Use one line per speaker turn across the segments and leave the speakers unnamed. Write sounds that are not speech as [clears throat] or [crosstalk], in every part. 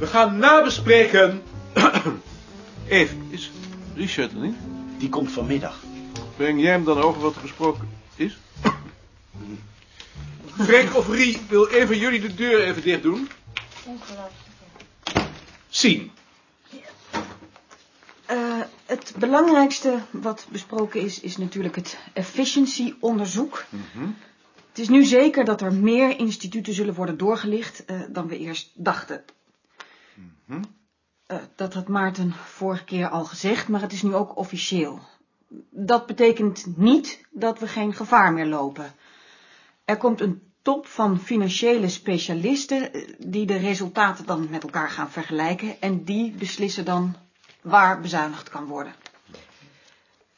gaan nabespreken. [clears throat] Even, is Richard er niet?
Die komt vanmiddag.
Breng jij hem dan over wat er gesproken is? [clears throat] Frank of Rie, wil een van jullie de deur even dicht doen?
Ongelooflijk.
Zien.
Eh, het belangrijkste wat besproken is, is natuurlijk het efficiency-onderzoek. Het is nu zeker dat er meer instituten zullen worden doorgelicht eh, dan we eerst dachten. Eh, dat had Maarten vorige keer al gezegd, maar het is nu ook officieel. Dat betekent niet dat we geen gevaar meer lopen. Er komt een top van financiële specialisten eh, die de resultaten dan met elkaar gaan vergelijken en die beslissen dan waar bezuinigd kan worden.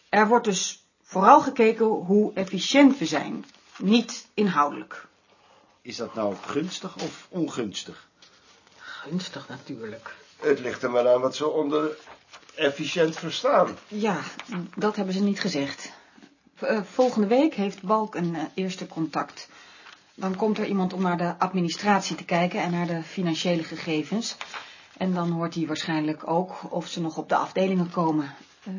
Er wordt dus vooral gekeken hoe efficiënt we zijn, niet inhoudelijk.
Is dat nou gunstig of ongunstig?
Gunstig natuurlijk.
Het ligt er maar aan wat ze onder efficiënt verstaan.
Ja, dat hebben ze niet gezegd. V- eh, Volgende week heeft Balk een eh, eerste contact. Dan komt er iemand om naar de administratie te kijken en naar de financiële gegevens. En dan hoort hij waarschijnlijk ook of ze nog op de afdelingen komen. Eh,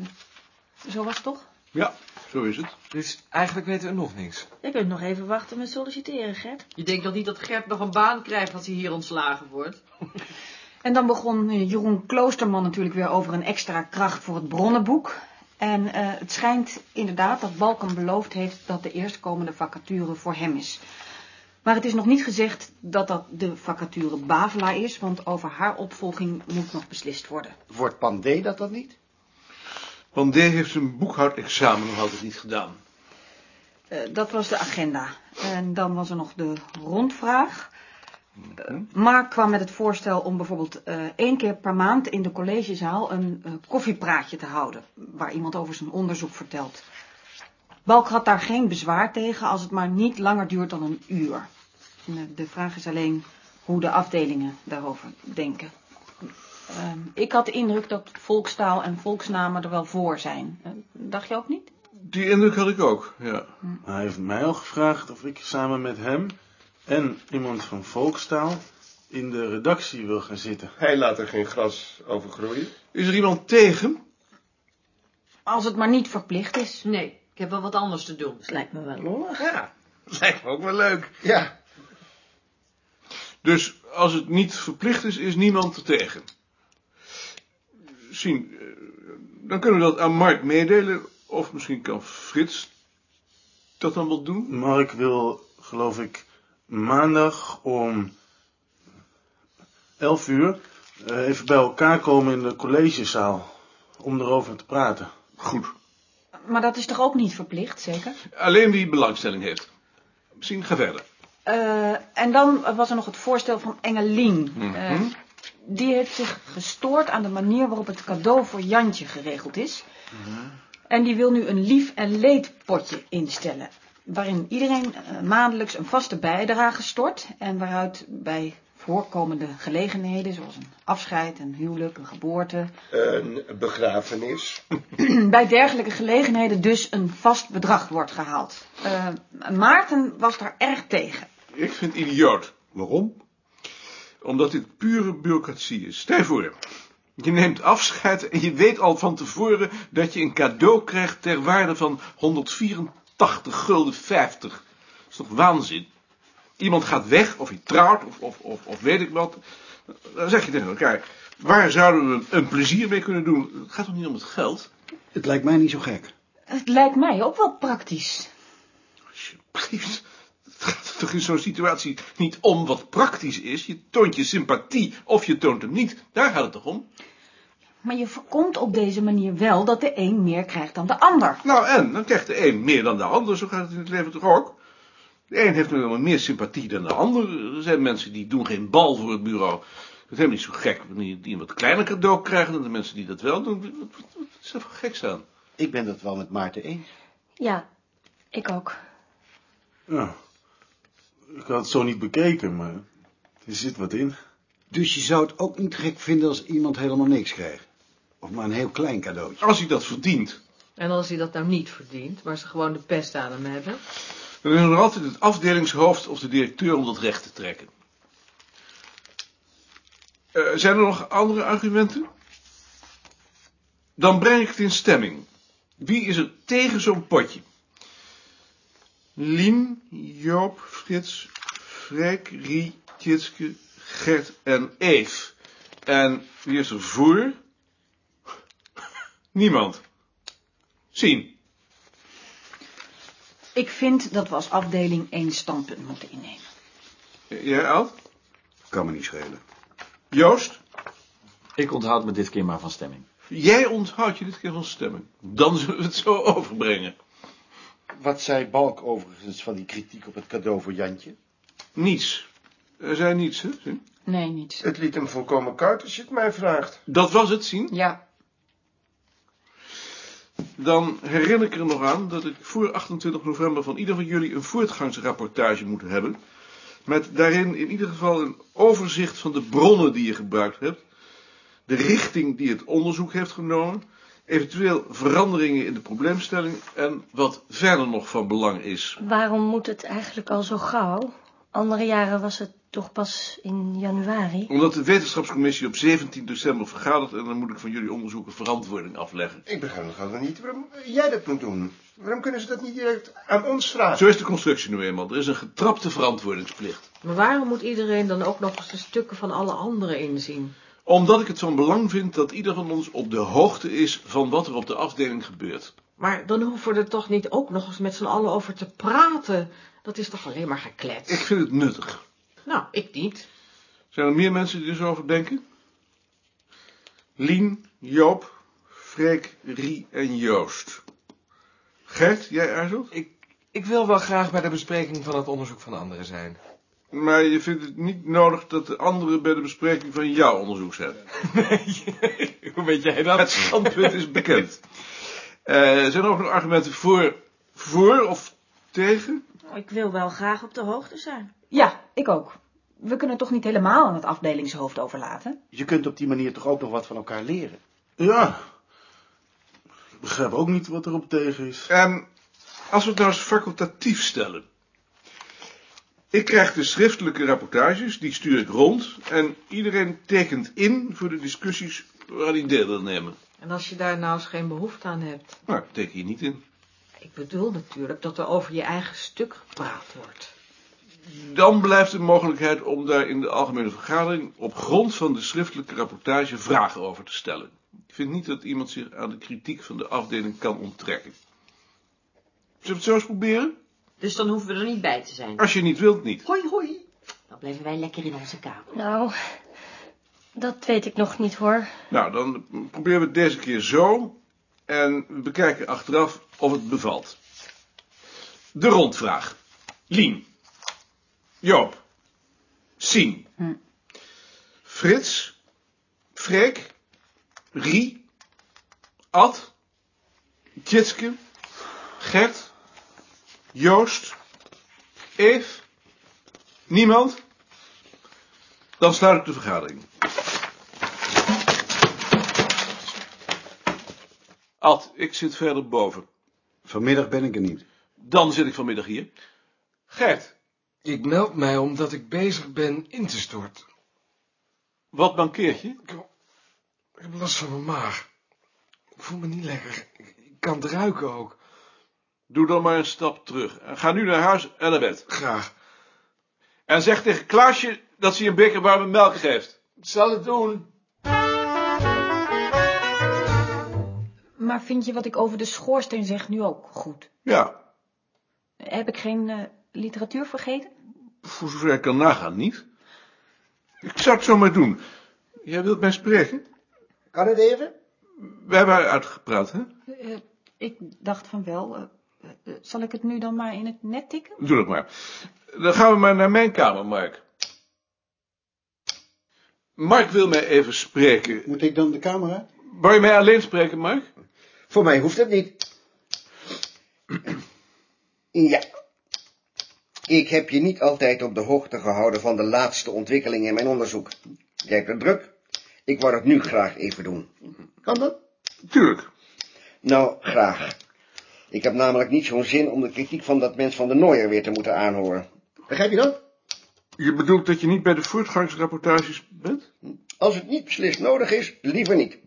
zo was het toch?
Ja, zo is het.
Dus eigenlijk weten we nog niks.
Je kunt nog even wachten met solliciteren, Gert.
Je denkt toch niet dat Gert nog een baan krijgt als hij hier ontslagen wordt?
[laughs] En dan begon eh, Jeroen Kloosterman natuurlijk weer over een extra kracht voor het bronnenboek. En eh, het schijnt inderdaad dat Balkan beloofd heeft dat de eerstkomende vacature voor hem is. Maar het is nog niet gezegd dat dat de vacature Bavela is, want over haar opvolging moet nog beslist worden.
Wordt Pandé dat dan niet?
Pandé heeft zijn boekhoudexamen nog altijd niet gedaan.
Eh, dat was de agenda. En dan was er nog de rondvraag. Eh, Mark kwam met het voorstel om bijvoorbeeld eh, één keer per maand in de collegezaal een eh, koffiepraatje te houden. Waar iemand over zijn onderzoek vertelt. Balk had daar geen bezwaar tegen als het maar niet langer duurt dan een uur. En, eh, de vraag is alleen hoe de afdelingen daarover denken. Ehm, ik had de indruk dat volkstaal en volksnamen er wel voor zijn. Eh, dacht je ook niet?
Die indruk had ik ook, ja.
Hij heeft mij al gevraagd of ik samen met hem en iemand van Volkstaal in de redactie wil gaan zitten.
Hij laat er geen gras over groeien.
Is er iemand tegen?
Als het maar niet verplicht is.
Nee, ik heb wel wat anders te doen.
Dat lijkt me wel lollig.
Ja,
Lijkt me ook wel leuk.
ja.
Dus als het niet verplicht is, is niemand er tegen. Zien, eh, dan kunnen we dat aan Mark meedelen. Of misschien kan Frits dat dan wel doen.
Mark wil, geloof ik, maandag om 11 uur eh, even bij elkaar komen in de collegezaal om erover te praten.
Goed.
Maar dat is toch ook niet verplicht, zeker?
Alleen wie belangstelling heeft. Misschien ga verder.
Eh, en dan was er nog het voorstel van Engelien.
Mhm.
Eh, die heeft zich gestoord aan de manier waarop het cadeau voor Jantje geregeld is.
Mhm.
En die wil nu een lief- en leedpotje instellen. Waarin iedereen eh, maandelijks een vaste bijdrage stort. En waaruit bij voorkomende gelegenheden, zoals een afscheid, een huwelijk, een geboorte...
Een begrafenis.
[clears throat] bij dergelijke gelegenheden dus een vast bedrag wordt gehaald. Eh, Maarten was daar erg tegen.
Ik vind het idioot. Waarom? Omdat dit pure bureaucratie is. Stel je voor, je neemt afscheid en je weet al van tevoren dat je een cadeau krijgt ter waarde van 184 gulden 50. Dat is toch waanzin? Iemand gaat weg, of hij trouwt, of, of, of, of weet ik wat. Dan zeg je tegen elkaar, waar zouden we een plezier mee kunnen doen? Het gaat toch niet om het geld?
Het lijkt mij niet zo gek.
Het lijkt mij ook wel praktisch.
Alsjeblieft. Het gaat er toch in zo'n situatie niet om wat praktisch is. Je toont je sympathie of je toont hem niet. Daar gaat het toch om?
Maar je voorkomt op deze manier wel dat de een meer krijgt dan de ander.
Nou en, dan krijgt de een meer dan de ander. Zo gaat het in het leven toch ook? De een heeft nu wel meer sympathie dan de ander. Er zijn mensen die doen geen bal voor het bureau. Het is helemaal niet zo gek wanneer die een wat kleiner cadeau krijgen dan de mensen die dat wel doen. Wat, wat- wat is er voor geks aan?
Ik ben dat wel met Maarten eens.
Ja, ik ook.
Ja, ik had het zo niet bekeken, maar er zit wat in.
Dus je zou het ook niet gek vinden als iemand helemaal niks kreeg? Of maar een heel klein cadeautje?
Als hij dat verdient,
En als hij dat nou niet verdient, maar ze gewoon de pest aan hem hebben.
dan is er nog altijd het afdelingshoofd of de directeur om dat recht te trekken. Eh, zijn er nog andere argumenten? Dan breng ik het in stemming. Wie is er tegen zo'n potje? Lien, Joop, Frits, Freek, Rie, Tjitske, Gert en Eef. En wie is er voor? [laughs] Niemand. Zien.
Ik vind dat we als afdeling één standpunt moeten innemen.
Jij, Ad?
Kan me niet schelen.
Joost?
Ik onthoud me dit keer maar van stemming.
Jij onthoudt je dit keer van stemming. Dan zullen we het zo [laughs] overbrengen.
Wat zei Balk overigens van die kritiek op het cadeau voor Jantje?
Niets. Er zijn niets, hè? Sien?
Nee, niets.
Het liet hem volkomen koud als je het mij vraagt.
Dat was het, Zien.
Ja,
Dan herinner ik er nog aan dat ik voor 28 november van ieder van jullie een voortgangsrapportage moet hebben. Met daarin in ieder geval een overzicht van de bronnen die je gebruikt hebt. De richting die het onderzoek heeft genomen. Eventueel veranderingen in de probleemstelling en wat verder nog van belang is.
Waarom moet het eigenlijk al zo gauw? Andere jaren was het toch pas in januari.
Omdat de wetenschapscommissie op 17 december vergadert en dan moet ik van jullie onderzoeken verantwoording afleggen.
Ik begrijp nog altijd niet waarom jij dat moet doen. Waarom kunnen ze dat niet direct aan ons vragen?
Zo is de constructie nu eenmaal. Er is een getrapte verantwoordingsplicht.
maar waarom moet iedereen dan ook nog eens de stukken van alle anderen inzien?
Omdat ik het van belang vind dat ieder van ons op de hoogte is van wat er op de afdeling gebeurt.
Maar dan hoeven we er toch niet ook nog eens met z'n allen over te praten? Dat is toch alleen maar geklets?
Ik vind het nuttig.
Nou, ik niet.
Zijn er meer mensen die er zo over denken? Lien, Joop, Freek, Rie en Joost. Gert, jij aarzelt?
Ik wil wel graag bij de bespreking van het onderzoek van anderen zijn.
Maar je vindt het niet nodig dat de anderen bij de bespreking van jouw onderzoek zijn.
[laughs] Hoe weet jij dat?
Het standpunt is bekend. Eh, zijn er ook nog argumenten voor, voor of tegen?
Ik wil wel graag op de hoogte zijn.
Ja, ik ook. We kunnen het toch niet helemaal aan het afdelingshoofd overlaten?
Je kunt op die manier toch ook nog wat van elkaar leren?
Ja. Ik begrijp ook niet wat erop tegen is.
Ehm, als we het nou eens facultatief stellen. Ik krijg de schriftelijke rapportages, die stuur ik rond. En iedereen tekent in voor de discussies waar hij deel wil nemen.
En als je daar nou eens geen behoefte aan hebt?
Nou, ik teken hier niet in.
Ik bedoel natuurlijk dat er over je eigen stuk gepraat wordt.
Dan blijft de mogelijkheid om daar in de algemene vergadering op grond van de schriftelijke rapportage vragen over te stellen. Ik vind niet dat iemand zich aan de kritiek van de afdeling kan onttrekken. Zullen we het zo eens proberen?
Dus dan hoeven we er niet bij te zijn.
Als je niet wilt, niet.
Hoi, hoi. Dan blijven wij lekker in onze kamer.
Nou, dat weet ik nog niet hoor.
Nou, dan proberen we het deze keer zo. En we bekijken achteraf of het bevalt. De rondvraag. Lien. Joop. Sien. Frits. Freek. Rie. Ad. Tjitske. Gert. Joost. Eve. Niemand? Dan sluit ik de vergadering. Ad, ik zit verder boven.
Vanmiddag ben ik er niet.
Dan zit ik vanmiddag hier. Gert,
Ik meld mij omdat ik bezig ben in te storten.
wat mankeert je?
Ik, heb- ik heb last van mijn maag. Ik voel me niet lekker. Ik, ik kan het ruiken ook.
Doe dan maar een stap terug. En ga nu naar huis en naar bed.
Graag.
En zeg tegen Klaasje dat ze je een beker warme melk geeft.
Ik zal het doen.
Maar vind je wat ik over de schoorsteen zeg nu ook goed?
Ja,
Heb ik geen eh, literatuur vergeten?
voor zover ik kan nagaan, niet? Ik zou het zo maar doen. Jij wilt mij spreken?
Kan het even?
We hebben haar uitgepraat, hè?
Eh, ik dacht van wel. eh, eh, eh, zal ik het nu dan maar in het net tikken?
Doe dat maar. Dan gaan we maar naar mijn kamer, Mark. Mark wil mij even spreken.
Moet ik dan de camera?
Wou je mij alleen spreken, Mark?
Voor mij hoeft dat niet. Ja. Ik heb je niet altijd op de hoogte gehouden van de laatste ontwikkelingen in mijn onderzoek. Jij hebt het druk. Ik wou dat nu graag even doen. Kan dat?
Tuurlijk.
Nou, graag. Ik heb namelijk niet zo'n zin om de kritiek van dat mens van de Nooier weer te moeten aanhoren. Begrijp je dat?
Je bedoelt dat je niet bij de voortgangsrapportages bent?
Als het niet beslist nodig is, liever niet.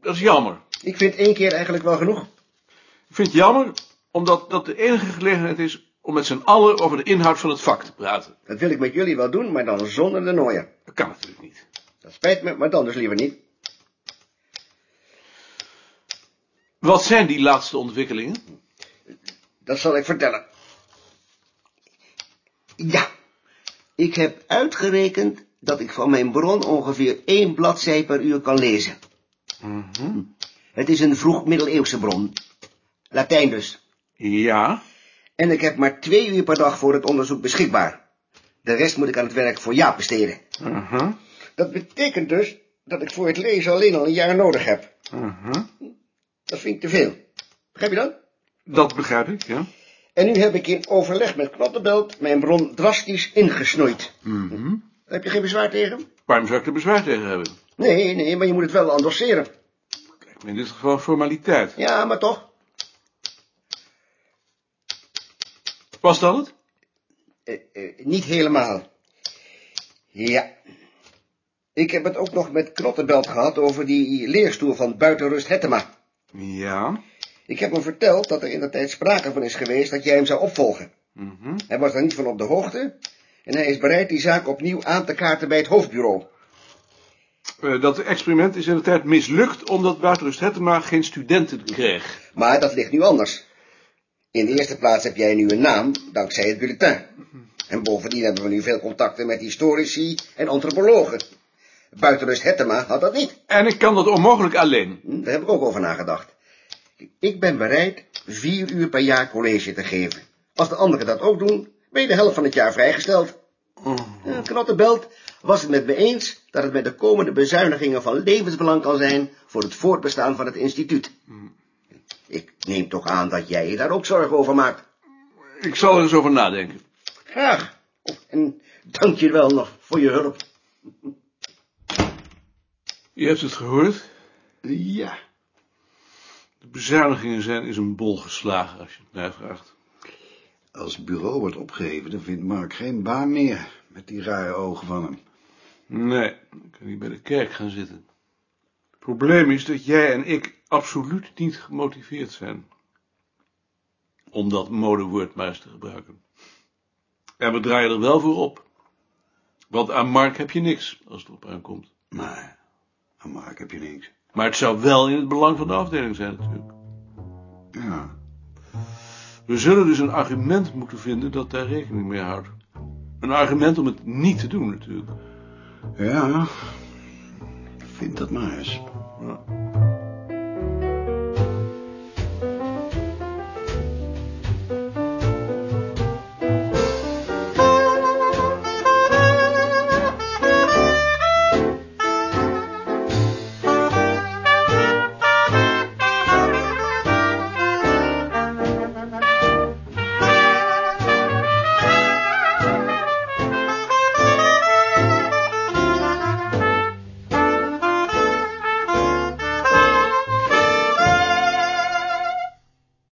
Dat is jammer.
Ik vind één keer eigenlijk wel genoeg.
Ik vind het jammer, omdat dat de enige gelegenheid is om met z'n allen over de inhoud van het vak te praten.
Dat wil ik met jullie wel doen, maar dan zonder de nooien.
Dat kan natuurlijk niet.
Dat spijt me, maar dan dus liever niet.
Wat zijn die laatste ontwikkelingen?
Dat zal ik vertellen. Ja, ik heb uitgerekend dat ik van mijn bron ongeveer één bladzij per uur kan lezen. Mhm. Het is een vroeg middeleeuwse bron. Latijn dus.
Ja,
En ik heb maar twee uur per dag voor het onderzoek beschikbaar. De rest moet ik aan het werk voor Jaap besteden.
Mhm.
Dat betekent dus dat ik voor het lezen alleen al een jaar nodig heb.
mhm.
Dat vind ik te veel. Begrijp je dat?
dat begrijp ik, ja.
En nu heb ik in overleg met Knottenbelt mijn bron drastisch ingesnoeid.
Mhm.
Heb je geen bezwaar tegen?
Waarom zou ik er bezwaar tegen hebben?
Nee, nee, maar je moet het wel endosseren.
In dit geval een formaliteit.
Ja, maar toch.
Was dat het?
Eh, eh, niet helemaal. Ja. Ik heb het ook nog met Knottenbelt gehad over die leerstoel van Buitenrust Hettema.
Ja.
Ik heb hem verteld dat er in de tijd sprake van is geweest dat jij hem zou opvolgen.
Mhm.
Hij was daar niet van op de hoogte en hij is bereid die zaak opnieuw aan te kaarten bij het hoofdbureau.
Eh, dat experiment is in de tijd mislukt omdat Buitenrust Hettema geen studenten kreeg.
Maar dat ligt nu anders. In de eerste plaats heb jij nu een naam dankzij het bulletin. En bovendien hebben we nu veel contacten met historici en antropologen. Buitenrust Hettema had dat niet.
En ik kan dat onmogelijk alleen.
Daar heb ik ook over nagedacht. Ik ben bereid vier uur per jaar college te geven. Als de anderen dat ook doen, ben je de helft van het jaar vrijgesteld.
Oh.
Eh, Knottenbelt was het met me eens dat het met de komende bezuinigingen van levensbelang kan zijn voor het voortbestaan van het instituut.
Mm.
Ik neem toch aan dat jij je daar ook zorgen over maakt.
Ik zal er eens over nadenken.
Graag. En dank je wel nog voor je hulp.
Je hebt het gehoord.
Ja,
De bezuinigingen zijn is een bol geslagen, als je het mij vraagt.
als het bureau wordt opgeheven, dan vindt Mark geen baan meer. Met die rare ogen van hem.
Nee, ik kan niet bij de kerk gaan zitten. Het probleem is dat jij en ik absoluut niet gemotiveerd zijn. Om dat modewoord maar eens te gebruiken. En we draaien er wel voor op. Want aan Mark heb je niks, als het erop aankomt.
Maar aan Mark heb je niks.
Maar het zou wel in het belang van de afdeling zijn, natuurlijk.
Ja,
We zullen dus een argument moeten vinden dat daar rekening mee houdt. Een argument om het niet te doen, natuurlijk.
ja. Vind dat maar eens.
Ja.